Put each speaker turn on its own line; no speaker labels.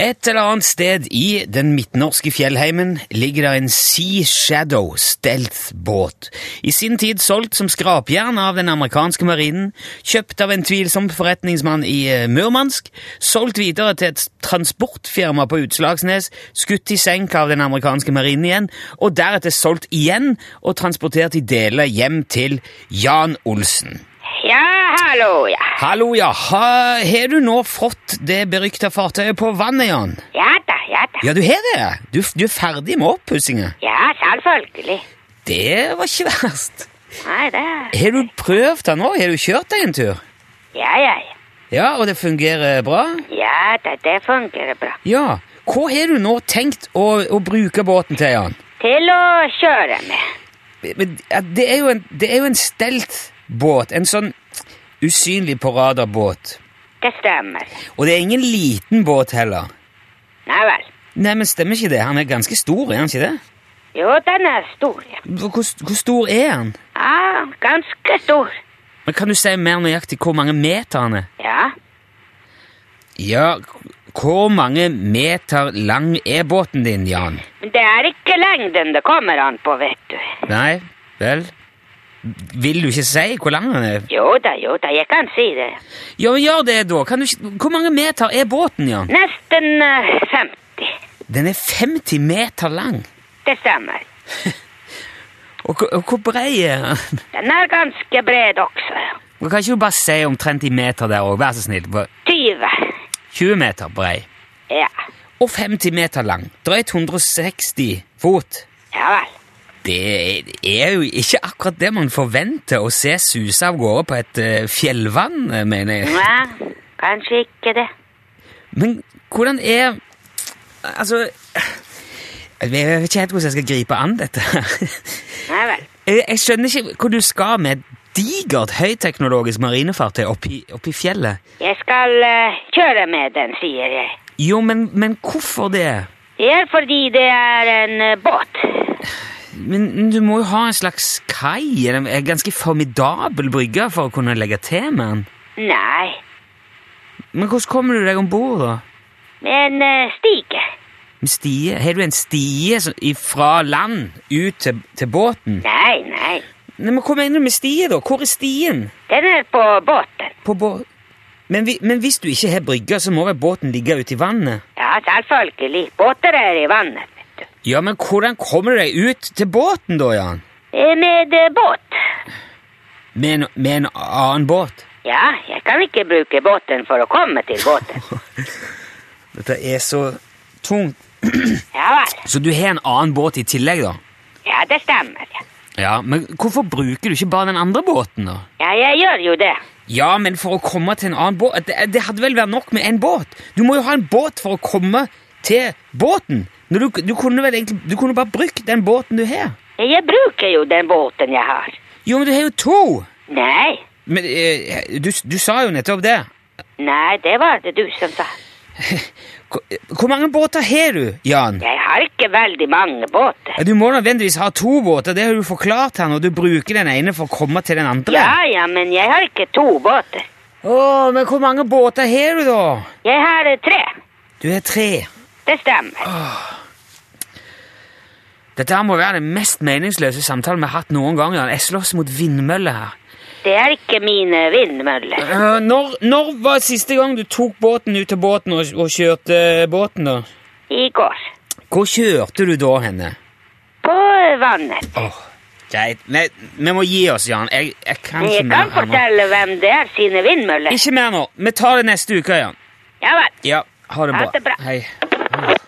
Et eller annet sted i den midtnorske fjellheimen ligger det en Sea Shadow Stealth-båt. I sin tid solgt som skrapjern av den amerikanske marinen, kjøpt av en tvilsom forretningsmann i eh, Murmansk, solgt videre til et transportfirma på Utslagsnes, skutt i senk av den amerikanske marinen igjen, og deretter solgt igjen og transportert i deler hjem til Jan Olsen.
Ja, hallo, ja.
Hallo, ja. Ha, har du nå fått det berykta fartøyet på vannet, Jan?
Ja da, ja da.
Ja, du har det. Du, du er ferdig med oppussinga.
Ja, selvfølgelig.
Det var ikke verst.
Nei, det
Har du prøvd den nå? Har du kjørt deg en tur?
Ja, ja, ja.
Ja, og det fungerer bra?
Ja da, det fungerer bra.
Ja. Hva har du nå tenkt å, å bruke båten til, Jan?
Til å kjøre med.
Men, ja, Det er jo en, det er jo en stelt båt. En sånn usynlig på radar-båt.
Det stemmer.
Og det er ingen liten båt heller.
Nei vel.
Nei, men stemmer ikke det? Han er ganske stor, er han ikke det?
Jo, den er stor, ja.
Hvor, hvor stor er han?
Ja, ganske stor.
Men Kan du si mer nøyaktig hvor mange meter han er?
Ja.
Ja, hvor mange meter lang er båten din, Jan?
Men det er ikke lengden det kommer an på, vet du.
Nei, vel Vil du ikke si hvor lang den er?
Jo da, jo da, jeg kan si det.
Ja, men gjør det, da. Kan du ikke Hvor mange meter er båten, Jan?
Nesten eh, 50.
Den er 50 meter lang.
Det stemmer.
Og, hvor- og hvor brei er den?
Den er ganske bred også.
Og Kan ikke du bare si omtrent i meter der òg, vær så snill? Bare
20.
20 meter brei.
Ja.
Og 50 meter lang. Drøyt 160 fot.
Ja vel.
Det er jo ikke akkurat det man forventer å se suse av gårde på et eh, fjellvann, eh, mener jeg.
Nei, kanskje ikke det.
Men hvordan er Altså Jeg vet ikke helt hvordan jeg skal gripe an dette. her.
Nei vel.
Jeg jeg skjønner ikke hvor du skal med et digert høyteknologisk marinefartøy oppi, oppi fjellet.
Jeg skal eh, kjøre med den, sier jeg.
Jo, men, men hvorfor det?
Det er fordi det er en eh, båt.
Men Du må jo ha en slags kai, eller en ganske formidabel brygge, for å kunne legge til med den.
Nei,
Men hvordan kommer du deg om bord, da?
men eh, stige.
Med stie? Har du en stie som- fra land ut til, til båten?
Nei, nei.
Nei, men Hva mener du med stie, da? Hvor er stien?
Den er på båten.
på bå... Men, vi, men hvis du ikke har brygge, så må vel båten ligge ute i vannet?
Ja, selvfølgelig. Båter er i vannet, vet du.
Ja, men hvordan kommer du deg ut til båten da, Jan?
Eh, Med eh, båt.
Med en, med en annen båt?
Ja, jeg kan ikke bruke båten for å komme til båten.
Dette er så tungt.
Ja vel.
Så du har en annen båt i tillegg, da?
Ja, det stemmer. ja.
Ja, men hvorfor bruker du ikke bare den andre båten, da?
Ja, jeg gjør jo det.
Ja, men for å komme til en annen båt Det, det hadde vel vært nok med én båt? Du må jo ha en båt for å komme til båten! Når du, du kunne vel egentlig Du kunne bare brukt den båten du har.
Jeg bruker jo den båten jeg har.
Jo, men du har jo to!
Nei,
Men eh, du, du sa jo nettopp det.
nei, det var det du som sa.
Hvor hvor mange båter har du, Jan?
Jeg har ikke veldig mange båter.
Ja, Du må nødvendigvis ha to båter, det har du forklart her når du bruker den ene for å komme til den andre.
Ja, ja, men jeg har ikke to båter.
Åh, men hvor mange båter har du da?
Jeg har eh, tre.
Du har tre.
Det stemmer.
Dette her må være den mest meningsløse samtalen vi har hatt noen gang, Jan. Jeg slåss mot vindmøller her.
Det er ikke mine vindmøller.
Øh, når, når var siste gang du tok båten ut til båten og, og kjørte båten da?
I går.
Hvor kjørte du da henne?
På vannet.
Åh, greit. Nei, vi må gi oss, Jan. Jeg, jeg kan
Men
ikke
jeg kan
mer her nå.
fortelle hvem det er sine vindmøller.
Ikke mer nå. Vi tar det neste uke, Jan.
Ja vel.
Ja, ha det
Ha
bra.
det bra.
Hei.